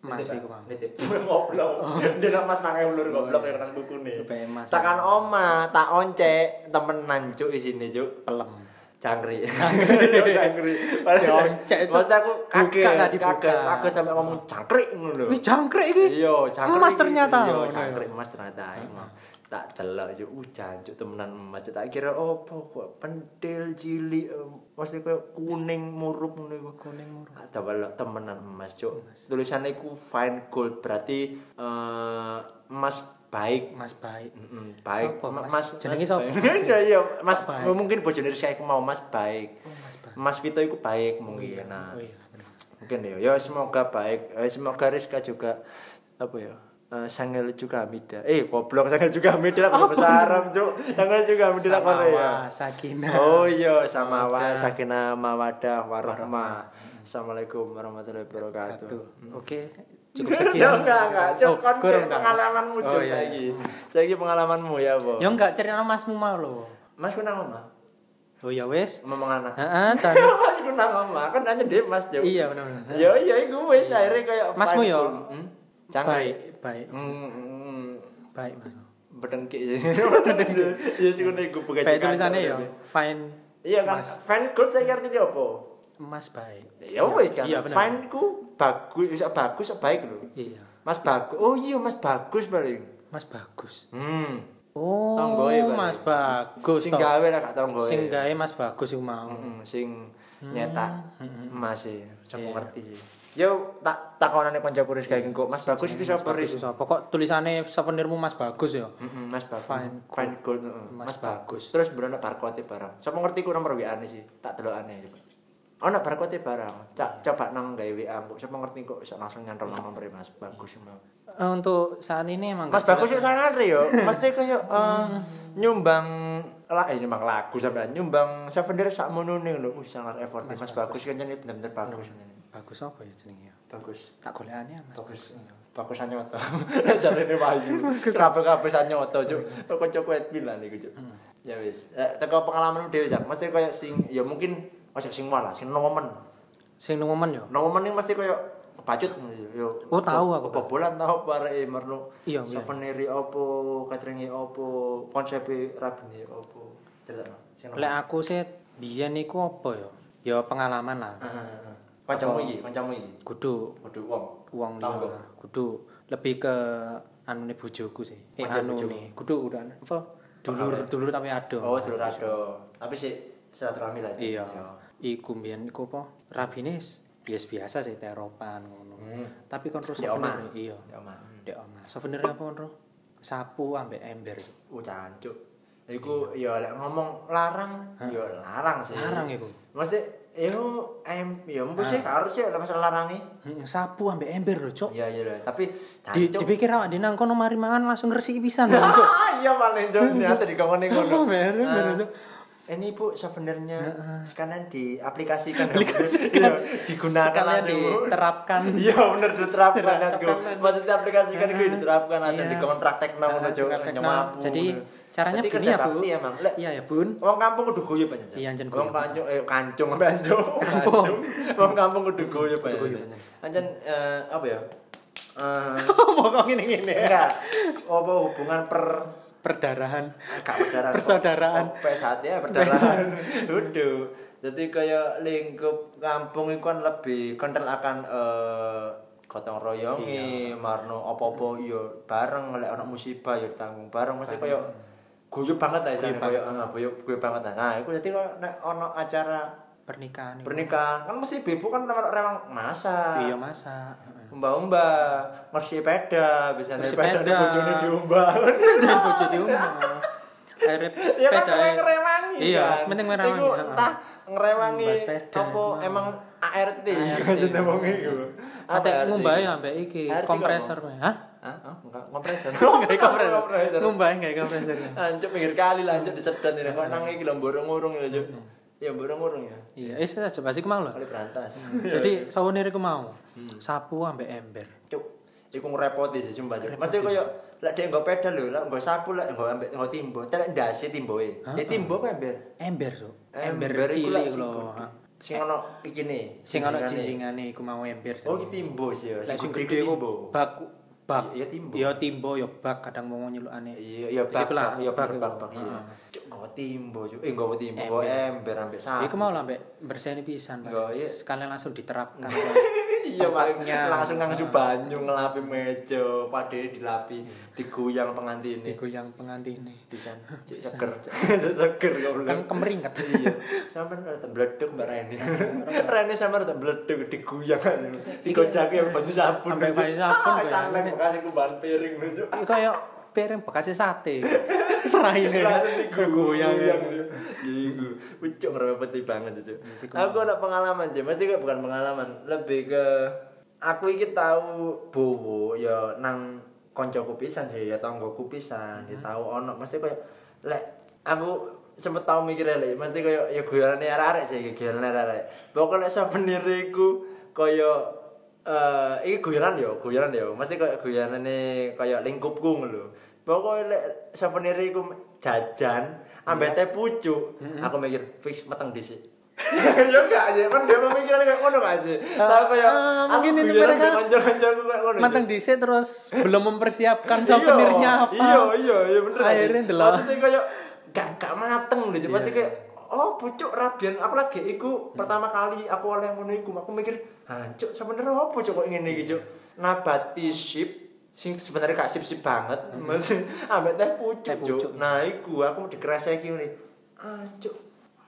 B: emas iku Oh. Bang.
A: Nitip goblok. Ndelok Mas mangai ulur goblok ya kenang kukune.
B: Lebih emas.
A: Tekan oma, tak once temenan cuk isine cuk.
B: pelem
A: Jangkri. Jangkri.
B: Dioncek, Cuk.
A: Maksudnya aku
B: Buka,
A: kaget,
B: nggak dibuka.
A: kaget, kaget sampe ngomong jangkrik ngono lho.
B: wih jangkrik iki
A: Iya, jangkrik.
B: emas
A: iki.
B: ternyata
A: Iya,
B: Ngono ya.
A: jangkrik emas ternyata. ayo, Mang. Tak delok cuk, uh jancuk temenan emas. Cuk. Tak kira opo kok pentil cilik em, mesti koyo kuning murup ngono iku.
B: kuning murah
A: Ada walau temenan emas cuk. Tulisannya ku fine gold berarti eh, emas baik.
B: emas baik
A: Mm, baik.
B: Sopo,
A: Ma-
B: Mas?
A: mas
B: Jenenge
A: Mas
B: sopo,
A: baik.
B: Mas?
A: Iya iya mas
B: Baik.
A: mungkin bojone Rizka iku mau mas baik.
B: oh emas baik
A: Mas Vito iku baik mungkin. Nah,
B: oh iya bener.
A: mungkin ya. Ya semoga baik. Eh, semoga Rizka juga apa ya? eh Sangel juga Hamida. Eh, goblok Sangel juga Hamida lah besar Arab, Cuk. Sangel juga Hamida lah
B: sama
A: Korea.
B: wa sakinah
A: Oh iya, sama wa sakinah mawadah warahmah. Assalamualaikum warahmatullahi wabarakatuh.
B: Tuh, oke cukup
A: Cukup
B: sekian
A: Hmm. enggak, enggak. Cuk,
B: Oh,
A: kan
B: kurang, enggak.
A: pengalamanmu
B: Oh,
A: Cuk
B: iya, iya.
A: saiki. Saiki pengalamanmu ya, Bo.
B: ya enggak cerita masmu mau lo
A: Mas ku nang omah.
B: oh ya wes
A: Ngomong anak.
B: Heeh, dan
A: Mas ku nang omah, kan nanya dhewe Mas, Cuk.
B: iya benar-benar
A: Ya ya iku wis akhirnya kayak
B: Masmu ya?
A: Hmm? Cangkrik.
B: baik baik
A: Hmm, hmm,
B: baik mas
A: Berdengki Berdengki. Ya sih gue gue
B: Baik tulisannya ya, fine
A: Iya kan, fan club saya ngerti dia apa?
B: emas baik.
A: Ya wis kan,
B: Iya, bener.
A: fine ku bagus, bisa bagus, bisa baik lho.
B: Iya,
A: Mas bagus, oh iya mas bagus paling.
B: Mas bagus.
A: Hmm.
B: Oh,
A: Tonggoe, Pak.
B: Mas bagus.
A: Sing
B: toh.
A: gawe lah gak tonggo.
B: Sing Hmm. gawe Mas bagus iku mau.
A: Mm, sing nyetak mas e,
B: hmm. Iya.
A: aku ngerti sih. Yo tak takonane kanca puris kayak kok Mas bagus iki sapa Riz?
B: Bagus iku sapa? Kok tulisannya souvenirmu Mas bagus ya?
A: Mm-mm, Mas bagus.
B: Fine Gold.
A: Fine gold. mm-mm.
B: Mas
A: Mas bagus.
B: Bagus.
A: Terus berono barcode barang. Sapa ngerti ku nomor WA-ne sih? Tak delokane coba. Ono barcode barang. Cak coba nang gawe WA kok. Sapa ngerti kok iso langsung nyantol nang nomore Mas bagus mau.
B: Eh, Untuk saat ini emang
A: Mas bagus yuk sangar yo. Mesti kayak eh, nyumbang lah eh nyumbang lagu sampean nyumbang souvenir sak monone lho. Uh sangar effort Mas, bagus kan jadi bener-bener bagus.
B: bagus apa ya jenenge?
A: Bagus.
B: Tak golekane Mas.
A: Bagus. Bagus sanyoto. Jarene wayu. Kabeh-kabeh sanyoto juk.
B: Hmm.
A: Kancaku Edwin lah niku juk. Ya wis. Eh, Teko pengalamanmu dhewe sak. Mesti kayak sing ya mungkin ojo sing wala, sing nomen.
B: Sing nang momen ya.
A: Nomen iki mesti kayak kebacut yo.
B: Oh, tahu aku.
A: Kebobolan tahu bareke merlu.
B: Iya, iya.
A: Souvenir e opo, catering e opo, konsep rabine opo. Ceritano. Sing nomen.
B: Lek aku sih biyen niku apa ya? Ya pengalaman lah.
A: Ah, ah, ah. Kancamu iki, kancamu iki.
B: Kudu
A: Waduh wong.
B: uang liya
A: Tanggung.
B: lah. Kudu lebih ke anune bojoku sih. Eh
A: Pancen
B: anune. Kudu udah apa? Dulur dulur tapi ado.
A: Oh, dulur ado. Tapi sik silaturahmi lah. sih.
B: Iya. Iku mbiyen iku apa? Rabinis. Yes biasa sih teropan ngono. Tapi kon terus
A: Di Hmm. omah.
B: souvenir iya.
A: Ya, Mas.
B: Dek omah. Souvenir apa kon Ro? Sapu ambek ember.
A: Oh cancuk. Iku ya lek ngomong larang, ya larang sih.
B: Iya. Larang iku.
A: Mesti yo em yo mpu sih harus sih ada masalah larangi.
B: Hmm, Sapu ambek ember lho, Cok.
A: Iya iya lah, tapi
B: Di,
A: cancuk.
B: dipikir awak di nang kono mari mangan langsung ngresiki pisan lho, Cok.
A: Ah iya paling jauh nyata di kawan yang
B: Sapu bener,
A: Ah.
B: bener, Cok.
A: Ini bu sebenarnya sekarang diaplikasikan. Aplikasikan. Digunakan
B: Sekalian
A: langsung.
B: diterapkan.
A: Iya bener diterapkan kan
B: Diterapkan langsung.
A: Maksudnya aplikasikan gue diterapkan langsung
B: Iya.
A: di kawan praktek nang
B: Ah,
A: ngono Cuk.
B: praktek nang.
A: Nyemapu,
B: Jadi
A: ngono.
B: caranya
A: Jadi
B: begini
A: kerja
B: ya, Bu.
A: bakti emang. Lek
B: Iya ya, Bun.
A: Wong kampung kudu guyub aja. Cak.
B: Iya, anjen
A: Wong
B: guyub.
A: kancung eh kancung kancung.
B: Kampung.
A: Kancung. Wong kampung kudu guyub aja.
B: guyub,
A: Cak. Anjen eh, apa ya? Eh
B: Pokok ngene-ngene.
A: enggak apa hubungan per
B: Perdarahan.
A: gak berdarah.
B: Persaudaraan.
A: Oh, pesat ya perdarahan. Udah. Jadi kayak lingkup kampung itu kan lebih kental akan eh gotong royong marno apa-apa yo bareng lek ana musibah yo tanggung bareng mesti koyo guyub banget lah istilahnya koyo ah, guyub guyub banget lah. Nah, iku dadi kok nek ana acara
B: Pernikahan. iku.
A: pernikahan kan mesti bebo kan nomor orang masak
B: Iya, masa.
A: umba-umba ngersi peda bisa naik
B: Ngersi
A: peda di
B: peda.
A: bojone diumbah
B: Dan bojo di rumah. Akhirnya
A: ya kan
B: pedae-
A: kena ngerewangi
B: Iya,
A: kan?
B: sementing ngerewangi,
A: Iku
B: heeh.
A: entah ngerewangi
B: Membahas peda,
A: apa
B: heeh.
A: emang ART
B: ART.
A: jenenge wong iku
B: Ate
A: ART.
B: ngumbahe ambek ya, iki
A: Ngerti kok,
B: kompresor. Hah?
A: Hah? Hah? enggak kompresor
B: Kayak kompresor. Ngumbahe kayak kompresor.
A: lanjut pinggir kali lanjut disedot ini kok nang iki lho mborong-urung ya Cuk. ya mborong-urung ya
B: Iya, eh saya coba sih mau lah.
A: kali berantas iya.
B: Jadi souvenir iku mau.
A: Hmm.
B: Sapu ambek ember.
A: Cuk, iku ngrepoti sih sumpah Cuk. Mesti koyo lek dhek nggo pedal lho, lek nggo sapu lek nggo ambek nggo timbo, telek ndase timboe. Ya timbo apa ember?
B: Ember, Cuk. Ember
A: Ember iku lek
B: cilik
A: sing
B: lho.
A: gede. Sing ono ikine.
B: Sing ana
A: jinjingane.
B: jinjingane iku mau ember.
A: Oh, iki timbo sih ya.
B: Lek sing
A: gede
B: gede
A: iku
B: iku bak bak.
A: Iya, timbo.
B: Ya timbo ya bak kadang mau nyelukane.
A: Iya, iya
B: Sik
A: bak,
B: lah,
A: bak, iya
B: bak
A: bak,
B: iku.
A: bak, bak, iya. Cuk, nggo timbo, Cuk. Eh, nggo timbo, nggo ember ambek sapu.
B: Iku mau lah ambek berseni pisan,
A: Ah. Yo,
B: Pak.
A: iya. Mm.
B: Sekalian langsung diterapkan.
A: iya paling
B: Tempatnya.
A: langsung ngangsu banyu ngelapi meja padahal dilapi digoyang pengantine
B: Digoyang pengantine.
A: pisan cek seger Cek seger goblok.
B: Kan kemeringat.
A: iya sampe rada bleduk mbak Reni Reni sampe rada bleduk diguyang aja digojak yang baju sabun
B: Sampai baju sabun,
A: Ah,
B: goyangannya.
A: santai bekas iku bahan piring Cuk.
B: Iki kaya piring bekasnya sate. Raine
A: langsung digoyang
B: goyang.
A: iku ucuk ngerepeti banget Cuk. aku ada pengalaman sih mesti kayak bukan pengalaman lebih ke aku iki tahu bowo ya nang koncoku pisan sih ya tanggoku pisan ya tahu ono mesti kayak lek aku sempet tau mikir lek mesti kayak ya goyorane arek-arek sih goyorane arek-arek pokoknya lek souvenir iku kaya eh iki guyonan yo, guyonan yo. Mesti koyo guyonane koyo lingkupku ngono lho. Pokoke lek souvenir iku jajan ambek teh pucuk, aku mikir fix meteng dhisik. ya enggak aja kan dia pemikiran kayak ngono gak sih tapi kayak
B: eh, mungkin
A: aku
B: ini
A: guyonan
B: mereka
A: dengan kanca-kancaku kayak ngono Cuk.
B: Matang dhisik terus belum mempersiapkan
A: Iya,
B: souvenirnya apa.
A: iya iya iya bener gak sih?
B: Akhirnya ndelok.
A: maksudnya kayak gak gak mateng lho Cuk. pasti kayak oh pucuk rabian aku lagi iku pertama kali aku oleh ngono iku aku mikir hancuk sebenernya apa cuk kok ngene iki cuk nabati sip sing sebenarnya gak sip-sip banget maksudnya ambek teh pucuk
B: Teh pucuk.
A: cuk nah iku aku dikreseki ngene hancuk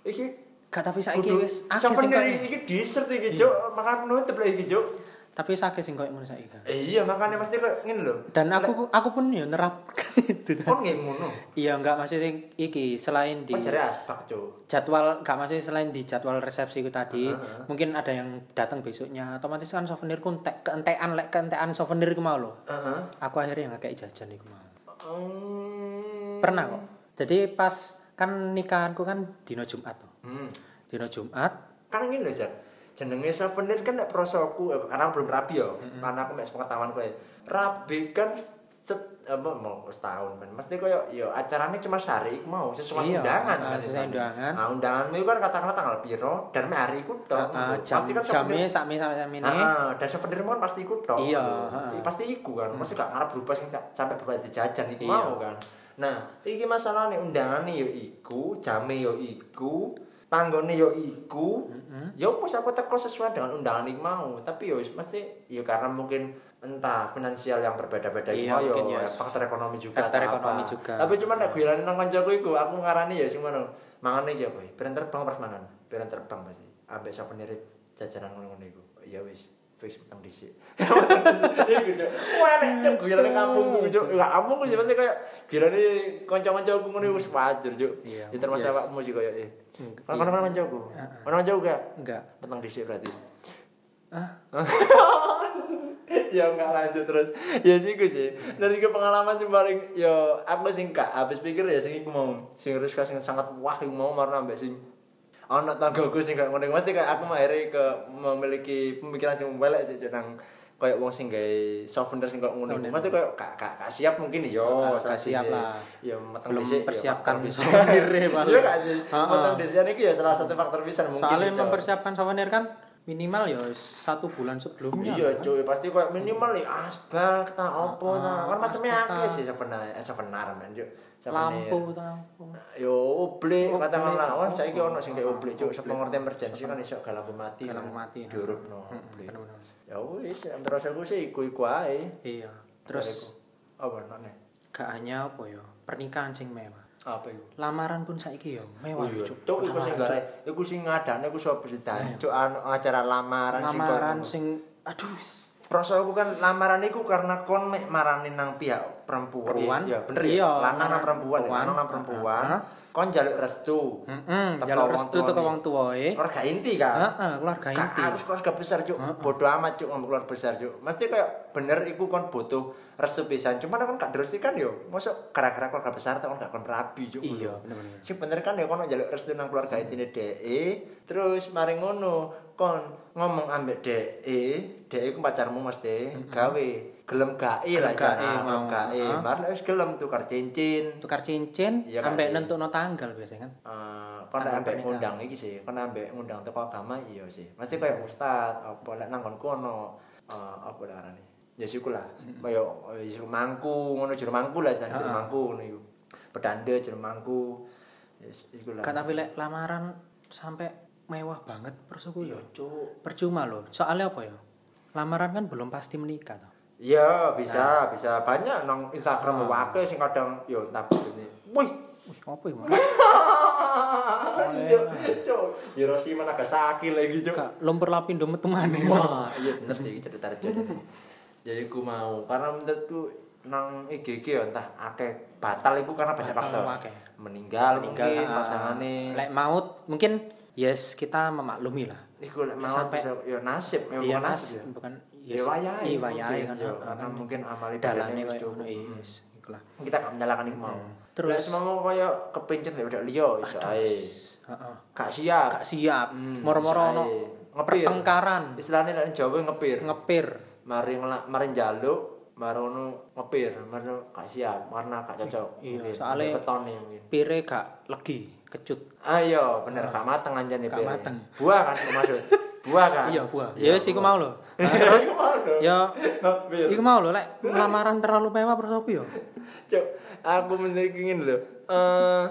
A: iki
B: Gak tapi saiki
A: Kudu
B: wis akeh sing
A: souvenir
B: koyo-
A: iki dessert iki cuk, makan penutup lah iki cuk.
B: tapi wis akeh sing koyo ngono saiki. Kak.
A: Eh, iya, makanya mesti kok ngene lho.
B: Dan aku aku pun yo nerapkan itu.
A: kon nggih ngono.
B: Iya enggak maksudnya iki selain di
A: Kon jare aspak cuk.
B: jadwal enggak maksudnya selain di jadwal resepsi itu tadi mungkin ada yang datang besoknya otomatis kan souvenir ku entek keentekan lek keentekan souvenir ku mau lho.
A: Heeh.
B: Aku akhirnya nggak kayak jajan iku mau.
A: Hmm.
B: Pernah kok. Jadi pas kan nikahanku kan dino Jumat tuh.
A: Hmm.
B: Dino Jumat
A: Kan ngene lho, Jan. Jenenge souvenir kan nek prosoku eh, karena aku belum rabi yo. Karena aku mek sepengetahuan kowe. Rabi kan cet apa mau setahun kan. Mesti koyo yo acaranya cuma sehari iku mau sesuai
B: Iya,
A: undangan
B: ah,
A: kan.
B: sesuai
A: sisanya.
B: undangan.
A: Nah, undanganmu itu kan katakanlah tanggal piro dan mek hari iku tok.
B: uh, jam
A: Pasti kan souvenir-
B: jamnya sakmi sama sama ini
A: Ah, dan souvenir kan pasti ikut dong.
B: Iya,
A: Iya,
B: heeh.
A: Pasti ikut kan. Mesti gak ngarep berubah sing ca- sampai berubah jajan iku
B: Iya.
A: mau kan. Nah, iki masalah nih undangan nih yo iku, jame yo iku, tanggone yo iku. Ya wis aku teko sesuai dengan undangan iku mau, tapi yo wis mesti yo karena mungkin entah finansial yang berbeda-beda iku
B: Iya,
A: mau yo
B: mungkin ya,
A: faktor ekonomi juga.
B: faktor
A: atau
B: ekonomi
A: apa.
B: juga.
A: Tapi cuman nek guyonane nang kancaku iku aku ngarani ya sing ngono. Mangane iki apa? Piran terbang pas mangan. Piran terbang pasti. Ambek souvenir jajanan ngono-ngono iku. Ya wis, wis utang dhisik. Iku cuk. Wah nek cuk guyonane kampungku cuk. Lah kampungku sih pasti kaya guyonane kanca-kancaku ngono iku wis wajar cuk.
B: Iya,
A: Ya termasuk
B: yes. Hmm,
A: awakmu sih kaya eh.
B: Enggak,
A: Mana mana kancaku? Mana kancaku gak?
B: enggak
A: Utang dhisik berarti.
B: ah
A: ya nggak lanjut terus ya sih gue sih dari ke pengalaman sih paling yo aku sih nggak habis pikir ya sing iku mau sing Rizka sing sangat wah iku mau marah ambek sing anak tanggaku sing gak ngono mesti kayak aku mah akhirnya ke memiliki pemikiran sing melek sih jenang kayak wong sing gawe souvenir sing kok ngono iku. mesti kayak gak gak gak siap mungkin yo
B: Oh, Gak- gak siap lah.
A: yo mateng
B: Belum
A: dhisik, yo
B: persiapkan
A: faktor pisan.
B: souvenirnya paling.
A: iya gak sih
B: Ha-ha.
A: mateng dhisik niku ya salah satu faktor pisan mungkin
B: soalnya
A: iso.
B: mempersiapkan souvenir kan minimal ya satu bulan sebelumnya
A: Iya
B: kan?
A: cuy, pasti kayak minimal ya ah, asbak, tak opo, tak
B: Ah,
A: kan macamnya
B: tak.
A: akeh sih sebenarnya, eh, sebenarnya men cuy. Sebenarnya.
B: lampu lampu
A: Yo oblik
B: Oblik,
A: katakanlah, oh
B: oh,
A: saiki ono sing kayak
B: oh,
A: oblik cuy, sepengerti emergency kan iso gak lampu mati. kan.
B: Gak lampu mati, ha.
A: Diurupno oblik.
B: bener-bener.
A: Ya wis, yang terus aku sih iku-iku ae.
B: iya terus
A: Bariku. apa nane?
B: gak hanya apa ya pernikahan sing mewah
A: Apa iku?
B: lamaran pun saiki ya
A: Oh
B: mewah
A: iya,
B: Eh, Cuk.
A: cuk iku sing
B: Lamaran,
A: gare, iku sing ngadane iku sapa sih Dan? cuk anu acara lamaran sing koyo
B: lamaran
A: ngono.
B: sing aduh s-
A: Prasa aku kan lamaran iku karena kon mek marani nang pihak perempuan.
B: Perempuan?
A: Iya, bener
B: Iya,
A: ya. Lanang nang
B: marani
A: perempuan, ya,
B: perempuan.
A: lanang nang perempuan.
B: Ah, ah.
A: Kon jaluk restu.
B: Mm-mm,
A: Teko
B: jalur
A: wong
B: restu
A: tuane.
B: teko wong tuwae
A: Keluarga inti kan.
B: heeh keluarga
A: Gak
B: inti
A: harus keluarga besar cuk. Bodoh amat cuk ngomong keluarga besar cuk. Mesti kayak bener iku kon butuh restu pisan. Cuman kon gak direstu kan yo. Mosok gara-gara keluarga besar tau kon gak kon rabi cuk.
B: Iya,
A: Ngono.
B: bener-bener.
A: Sing bener kan ya kon nak njaluk restu nang keluarga intine DE, terus mari ngono kon ngomong ambek DE, DE E ku pacarmu mesti gawe gelem gae lah
B: Gelem gae
A: istilahnya, gelem
B: mau.
A: gae.
B: Ha.
A: Mari wis gelem tukar cincin.
B: tukar cincin
A: Iya, kasih.
B: ambek nentukno tanggal biasanya kan
A: Eh, kon nak
B: Tanggal
A: ambek
B: pernikahan.
A: ngundang iki sih, kon nak ambek ngundang teko agama iya sih. Mesti koyo ustaz apa lek nang kono ono eh, apa lah arane. Ya siku lah. Koyo eh, siku mangku, ngono jero mangku lah istilahnya, jero mangku ngono iku. Pedande jero mangku. Ya iku lah.
B: Gak tapi lek lamaran sampai mewah banget persuku
A: Iya,
B: yo.
A: cuk.
B: Percuma loh. Soalnya apa ya? Lamaran kan belum pasti menikah toh.
A: Iya, bisa, bisa banyak nang Instagram wae sing kadang yo entah begini. Wih.
B: Wih, apa ya? Mas?
A: Cuk, cuk. Hiroshima Nagasaki lagi, cuk.
B: Gak lumpur lapindo metu maneh.
A: Wah, iya bener sih cerita rejo jadi. Jadi ku mau karena menurutku nang IGG ya entah akeh batal iku karena banyak
B: Batal
A: faktor.
B: akeh.
A: Meninggal,
B: Tinggal,
A: mungkin
B: ah,
A: pasangane.
B: Lek maut mungkin yes kita memaklumi lah.
A: Iku lek mau
B: sampai-
A: bisa- ya nasib, ya
B: Iya
A: bukan nasib.
B: mas,
A: ya.
B: bukan
A: Ya, wayahe
B: iya
A: mungkin,
B: wayahe kan.
A: ya,
B: ah,
A: karena
B: kan
A: mungkin amal ibadahnya
B: dalane
A: wis
B: kaya
A: cukup.
B: ngono, iya, Yes, ikulah.
A: Kita gak menyalahkan iku mau.
B: Terus?
A: Terus mau kaya kepencet lek udah liya iso ae.
B: Heeh.
A: Gak siap.
B: Gak siap,
A: Hmm,
B: moro-moro
A: iso ae.
B: ono
A: Ngepir.
B: pertengkaran,
A: Istilahnya nek Jawa ngepir.
B: ngepir.
A: mari ngela, mari njaluk marono ngepir, marono gak siap, warna gak cocok.
B: Iya,
A: mungkin.
B: soalnya-
A: Mungkin ketone mungkin.
B: pire gak legi kecut
A: Ayo, bener gak mateng anjen nih
B: Nah, Gak
A: pire.
B: mateng.
A: Buah kan maksud. Buah kan.
B: iya buah ya wis iku mau lho Nah,
A: Terus
B: terus ya
A: Ngepir.
B: iku mau lho lek lamaran terlalu mewah terus aku ya. yo
A: Cuk, aku bener ingin lho. Eh,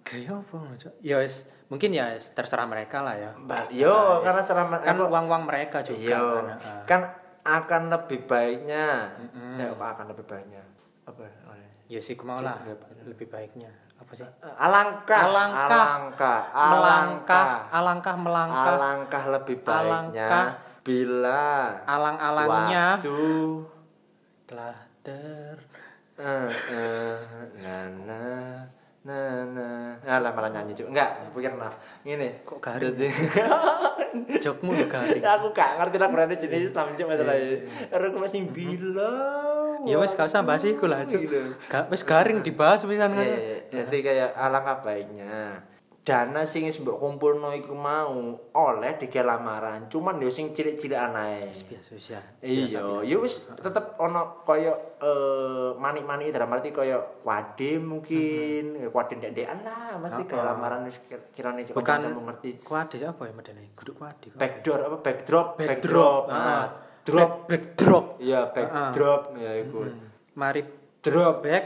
B: gaya apa ngono, Cok? ya wis mungkin ya wis, terserah mereka lah ya
A: Mbak, yo karena selama
B: kan uang-uang mereka juga
A: Iya.
B: kan heeh.
A: Kan akan lebih baiknya. Ya, kok akan lebih baiknya. Apa? oh, ya.
B: ya sih iku mau lah lebih baiknya apa sih
A: Alangkah,
B: Alangkah.
A: alangkah, alangkah,
B: melangkah alangkah melangkah
A: alangkah lebih baiknya
B: Alangkah.
A: bila
B: alang-alangnya
A: waktu
B: telah ter
A: eh, eh, na na na na Alah, malah nyanyi juga enggak pikir naf ini
B: Kok garing? ya? jokmu lho garing
A: aku gak ngerti lah berarti jenis Islam cuk masalah ini aku masih bilang
B: Iya, ya wis gak usah bahas iku lah Cok.
A: Gitu.
B: Ga- wis garing dibahas pisan kan
A: Iya, iya, iya. Jadi kayak alangkah baiknya dana sing wis mbok kumpulno iku mau oleh digawe lamaran. Cuman yo sing cilik-cilik anae.
B: biasa-biasa
A: Iya, yo wis tetep ono kaya eh, manik-manik dalam arti kaya wadim mungkin, ya kuadim dek-dekan lah mesti kayak lamaran wis kir- kirane cek
B: Bukan-
A: kanca mengerti.
B: kuade apa ya medene guduk kuade kok.
A: Backdoor apa backdrop,
B: backdrop
A: ah. drop.
B: ah.
A: Ah. Mhm.
B: Back- backdrop
A: Iya, backdrop ya iku.
B: mari
A: Drop,
B: back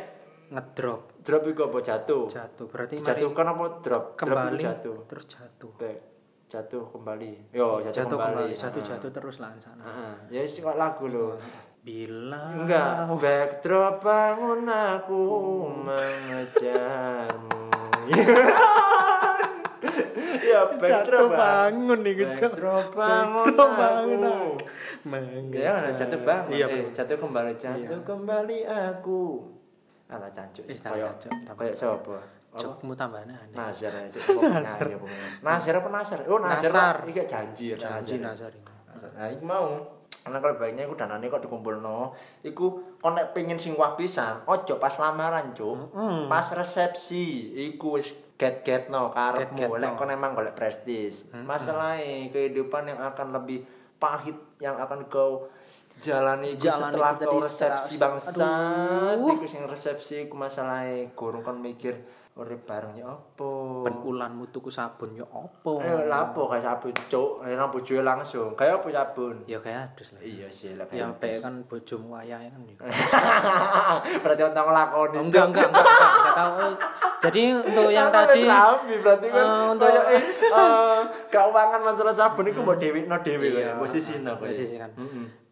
B: ngedrop
A: drop iku apa jatuh?
B: jatuh berarti mari
A: Jatuhkan apa drop? Drop
B: kembali
A: itu jatuh.
B: terus jatuh
A: Baik. jatuh kembali yo jatuh, Mhm. kembali,
B: jatuh
A: ah.
B: kembali jatuh jatuh terus lah sana
A: Heeh. ya wis kok lagu lo
B: bila
A: enggak backdrop bangun aku mengejarmu ya backdrop bangun
B: nih
A: backdrop bangun
B: Backdrop bangun
A: aku
B: aku.
A: ya ada jatuh bangun
B: Iya,
A: eh, jatuh kembali jatuh kembali aku ala cancuk
B: Wis, tambah
A: kayak
B: cancuk, tambah
A: kayak siapa Oh,
B: jokmu tambahan aneh
A: Nazar ya, Cuk. Nazar. Nazar apa Nazar? Oh, Nazar.
B: Nazar.
A: Iki kayak janji ya,
B: janji
A: Nazar.
B: nazar ini.
A: Nah, iku mau. Karena kalau baiknya iku danane kok dikumpulno, iku kok nek pengen sing wah pisan, ojo pas lamaran, Cuk.
B: Hmm.
A: Pas resepsi iku wis get-getno karepmu
B: Get-getno. Hmm,
A: lek kon emang golek prestis. Masalahe kehidupan yang akan lebih pahit yang akan kau jalani, iku
B: Jalani
A: setelah kau
B: itu tadi setelah-
A: resepsi bangsat
B: Aduh.
A: iku sing resepsi iku masalahe gurung kon mikir urip bareng ya apa
B: ben ulanmu tuku sabun yo
A: oh.
B: opo
A: Eh, lapo kayak sabun, cuk. Eh, nang bojoe langsung. Kayak apa sabun?
B: ya kayak adus lah
A: Iya sih, lah
B: ya
A: kayak. Eh.
B: pe kan bojomu wayah kan ya.
A: berarti orang tahu lakoni.
B: Oh, enggak enggak enggak enggak, enggak tahu Eh, jadi untuk yang tadi
A: Rabi, berarti kan
B: eh,
A: untuk
B: untuk-
A: keuangan masalah sabun itu mau dewi, no dewi
B: Iya.
A: kan, posisi no
B: Posisi kan.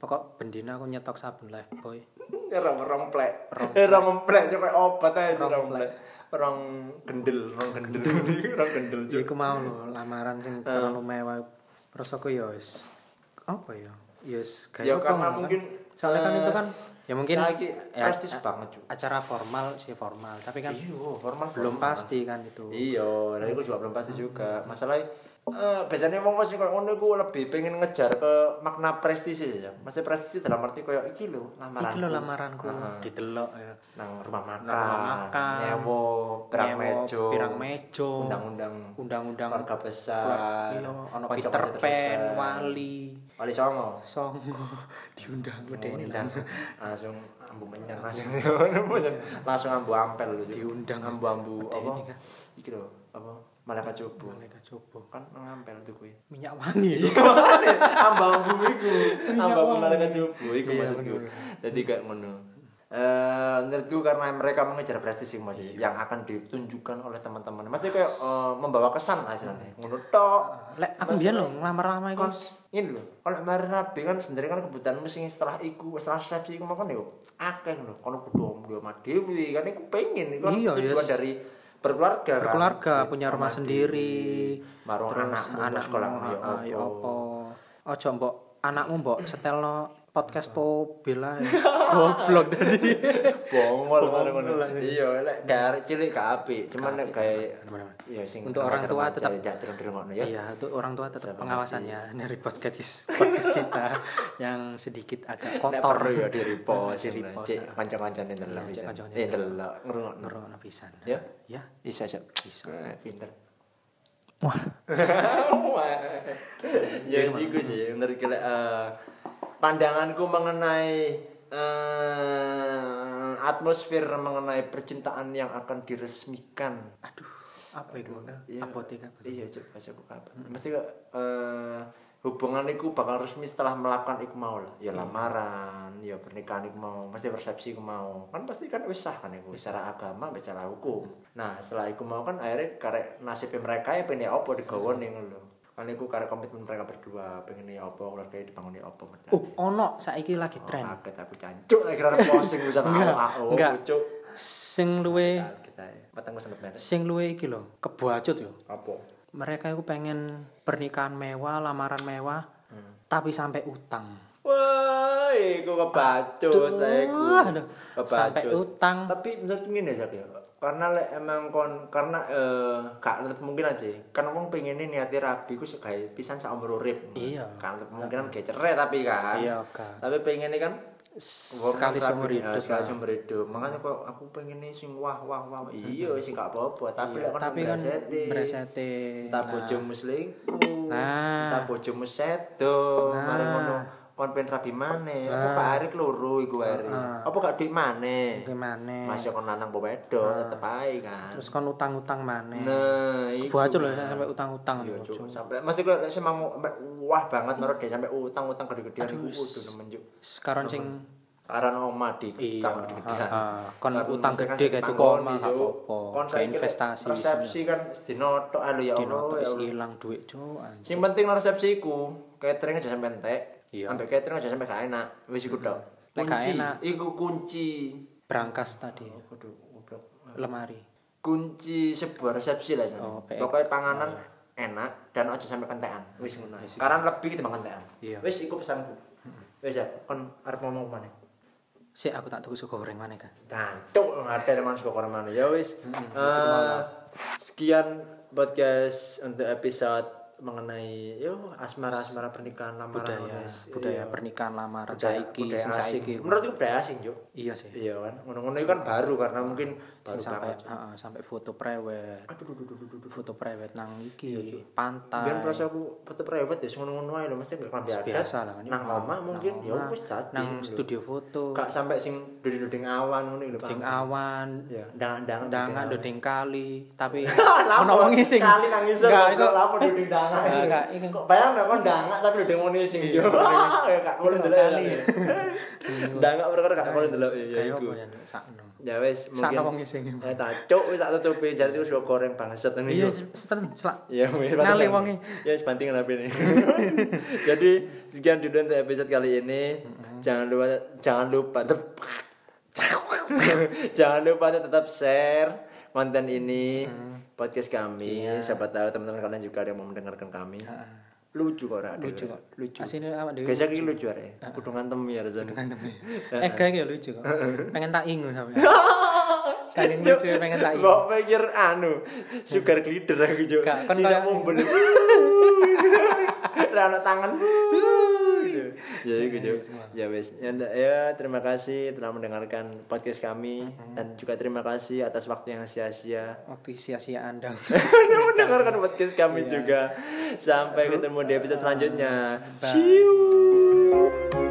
B: pokok bendina aku nyetok sabun live boy
A: Rong rong plek, Eh, rong plek, coba obat aja itu rong
B: plek.
A: plek, rong gendel, rong gendel, rong gendel
B: ya
A: cuk.
B: aku mau lo lamaran
A: Eh.
B: sing terlalu mewah terus aku ya wis apa ya ya wis
A: Ya,
B: kayak apa
A: karena
B: ngono
A: mungkin,
B: kan. soalnya kan
A: eh,
B: itu kan ya mungkin
A: saiki
B: ya,
A: prestis
B: a-
A: banget, Cuk.
B: acara formal sih formal tapi kan
A: Iya, formal
B: belum
A: formal.
B: pasti kan itu
A: Iya, dan aku juga belum pasti juga. Masalahnya eh, biasanya wong sing koyo ngono iku lebih pengen ngejar ke makna prestisi ya. Mesti prestisi dalam arti koyo iki lho, lamaran.
B: iki lo lamaranku didelok ya
A: nang rumah makan,
B: Rumah makan,
A: nyewo, pirang
B: Nyewa
A: mejo,
B: pirang mejo
A: undang-undang
B: undang-undang
A: keluarga
B: keluar-
A: besar,
B: iya ono
A: konco-konco
B: Peter Pan
A: terdekat.
B: wali
A: wali songo,
B: songo
A: Oh,
B: diundang gede ini
A: Undang, langsung ambu menyang langsung langsung ambu ampel lho Cuk.
B: Diundang.
A: ambu ambu
B: Medeni
A: apa
B: kan.
A: iki lho apa malaikat coba
B: mereka coba
A: kan ngampel tuh kuwi
B: minyak wangi ya
A: ambang bumiku ambang menara cupu iku
B: Iya,
A: maksudku jadi kayak ngono Eh menurutku karena mereka mengejar prestasi mas
B: Iya.
A: yang akan ditunjukkan oleh teman-teman maksudnya kayak eh, membawa kesan lah istilahnya
B: Iya.
A: ngono tok
B: lek aku biar lo ngelamar-lamar iku
A: kon ini lho kalau kemarin rabi kan sebenarnya kan kebutuhanmu sing setelah iku setelah resepsi iku makan yo akeh lho kalau kudu omdo sama dewi kan iku pengen iku kan
B: Iya,
A: tujuan
B: yes.
A: dari berkeluarga kan.
B: keluarga
A: Duit
B: punya rumah
A: sama
B: sendiri
A: dewe. Marung anakmu, sekolahmu ya
B: ah, ya
A: apa.
B: apa ojo mbok anakmu mbok setelno podcast po bela goblok tadi
A: bongol ngono iya lek dari cilik gak apik cuman nek gawe ya sing
B: Untuk orang tua tetap-
A: tidak dirungokno ya
B: iya itu orang tua tetap pengawasannya dari podcast podcast kita yang sedikit agak
A: nek
B: kotor
A: perlu ya di repost di
B: repost,
A: cek kanca-kancane ndelok
B: Iya, cek
A: bisa
B: kanca-kancane
A: eh ndelok ngrungokno
B: ngerono pisan
A: Ya.
B: ya
A: bisa bisa
B: Bisa.
A: Eh, pinter
B: wah
A: ya sih gue sih menurut gue eh, pandanganku mengenai eh, eh, atmosfer mengenai percintaan yang akan diresmikan
B: Aduh, apa itu?
A: iya.
B: Abote kan.
A: iya coba coba kabar mesti kok eh, hubungan itu bakal resmi setelah melakukan iku mau lah ya lamaran ya pernikahan iku mau mesti persepsi iku mau kan pasti kan wis sah kan iku secara agama mbek secara hukum nah setelah iku mau kan akhirnya karek nasib mereka ya pengen apa digawa ning lho kan iku karek komitmen mereka berdua pengen ya apa keluarga dipangoni apa mereka
B: Oh, ono saiki lagi tren.
A: kaget aku cancuk akhirnya posting bisa ngawak aku
B: enggak.
A: cuk
B: Sing luwe
A: kita petengku sempet merek
B: sing luwe iki lho, kebacut yo.
A: apa
B: Mereka itu pengen pernikahan mewah, lamaran mewah,
A: Hmm.
B: tapi sampai utang.
A: Wah, iku kebacut ta iku.
B: Wah, aduh. Sampai
A: Kebacut.
B: utang.
A: Tapi menurut ngene Zak ya. Karena lek emang kon karena eh gak ada kemungkinan sih. Kan wong pengen niate rabi ku segawe pisan sak umur urip.
B: Iya.
A: Kan ada kemungkinan geceret tapi kan.
B: Iya, Kak.
A: Tapi pengen kan wong
B: Sekali
A: rabi,
B: seumur
A: eh,
B: hidup.
A: sekali
B: lah.
A: seumur hidup. Makanya kok aku pengen sing wah wah wah. Iya, sing gak apa-apa, tapi
B: Iya,
A: lek kon
B: tapi kan
A: mendaseti.
B: beresete.
A: Entah bojomu selingkuh.
B: Nah.
A: Entah bojomu sedo, mari ngono kon pengen rabi maneh. Apa gak arek loro iku arek. Apa gak dik maneh?
B: Gimana?
A: Masih kon lanang apa wedok tetep ae kan.
B: Terus kan utang-utang mana?
A: Nah, iku.
B: Kebacut lho sampai utang-utang.
A: Iya,
B: lho.
A: Cuk. Sampai mesti kok lek semang wah banget menurut dia sampai utang-utang gede-gedean iku kudu nemen juk.
B: Sekarang sing
A: Karena oma di
B: Iya,
A: utang gede-gedean.
B: ah, ah. Kon
A: Karena
B: utang
A: mesti kan
B: gede
A: sing
B: kayak itu
A: tanggoni,
B: koma, gak
A: Cuk.
B: apa-apa.
A: Kon
B: Kayak
A: saiki lek
B: investasi,
A: Resepsi kan sedinotok ae lho ya Allah.
B: dinoto
A: ya
B: wis
A: Allah.
B: ilang duit, Cuk. anjing.
A: Sing penting nang resepsi iku, catering aja sampe entek.
B: Iya.
A: Ambek catering aja sampe gak enak. Wis iku tok.
B: Lek gak
A: Kunci.
B: enak.
A: Iku kunci.
B: Berangkas tadi
A: Waduh, goblok.
B: lemari.
A: Kunci sebuah resepsi lah.
B: Oh, Iya.
A: Oh,
B: PE.
A: Pokoknya panganan enak dan aja sampe kentekan. Wis ngono. Karena lebih kita kentekan.
B: Iya.
A: Wis iku pesanku. Wis ya, kon arep ngomong kemana?
B: Sik aku tak tuku sego goreng mana kan?
A: Tantuk ngate teman suka kono mana. Ya wis.
B: Hmm,
A: Eh, sekian podcast untuk episode mengenai yo asmara-asmara pernikahan lamaran
B: budaya
A: wis.
B: budaya
A: Iya.
B: pernikahan lamaran
A: budaya,
B: saiki
A: budaya
B: sing
A: asing.
B: saiki
A: Menurutku budaya asing, Juk.
B: iya sih
A: Iya kan. Ngono-ngono itu kan baru karena mungkin baru
B: sampai
A: banget.
B: ah, ah, sampai foto prewed
A: Aduh duh duh duh duh duh.
B: foto prewed nang
A: Iya,
B: iki
A: Biar
B: pantai
A: proses aku foto private ya ngono-ngono ae lho mesti gak kambi adat.
B: biasa lah kan.
A: Nang omah mungkin ya
B: omah,
A: wis jadi.
B: nang studio foto
A: Gak sampai sing duding-duding awan ngono lho.
B: sing
A: Pak.
B: awan
A: Ya, ndang-ndang.
B: dangan dodeng kali tapi
A: Lapo,
B: ono wong sing
A: kali nang isor
B: Enggak,
A: kok
B: itu
A: lapo duding dangan.
B: Enggak, enggak, ini. Iya,
A: Kok bayang nek kon dangan tapi duding ngono sing yo. Ya gak kulo delok ya. Dangan perkara gak kulo delok ya
B: kayak
A: iku.
B: apa ya Nduk? sakno
A: Ya wis
B: sakno wong
A: mungkin
B: sing
A: Eh tacuk wis tak tutupi jadi wis go goreng bangset ini.
B: iya
A: yo.
B: sepen selak
A: Ya wis
B: Nali
A: bantingan.
B: wonge.
A: Ya wis bantingan apa ini. Jadi sekian dulu untuk episode kali ini. Jangan lupa jangan lupa tep- jangan lupa tetap share konten ini podcast kami.
B: Iya.
A: Siapa tahu teman-teman kalian juga ada yang mau mendengarkan kami. Lucu kok Ra,
B: lucu kok
A: Adewe. Lucu.
B: asine awak dhewe
A: Gesek iki lucu arek. Kudu ngantem ya Rezan.
B: eh kayak gitu lucu kok pengen tak ingu sampe Saking
A: Cuk,
B: lucu pengen tak ingu
A: Mbok pikir anu, sugar glider aku juk.
B: Gak, kan
A: Sisa
B: kayak-
A: mumbul. Lah ana tangan. Ya iku juk. Ya
B: Iya,
A: wis. Ya, ndak- ya, terima kasih telah mendengarkan podcast kami
B: Mm-hmm.
A: dan juga terima kasih atas waktu yang sia-sia
B: waktu sia-sia anda
A: telah mendengarkan podcast
B: Iya.
A: kami juga. Sampai ketemu di episode selanjutnya. Ciu.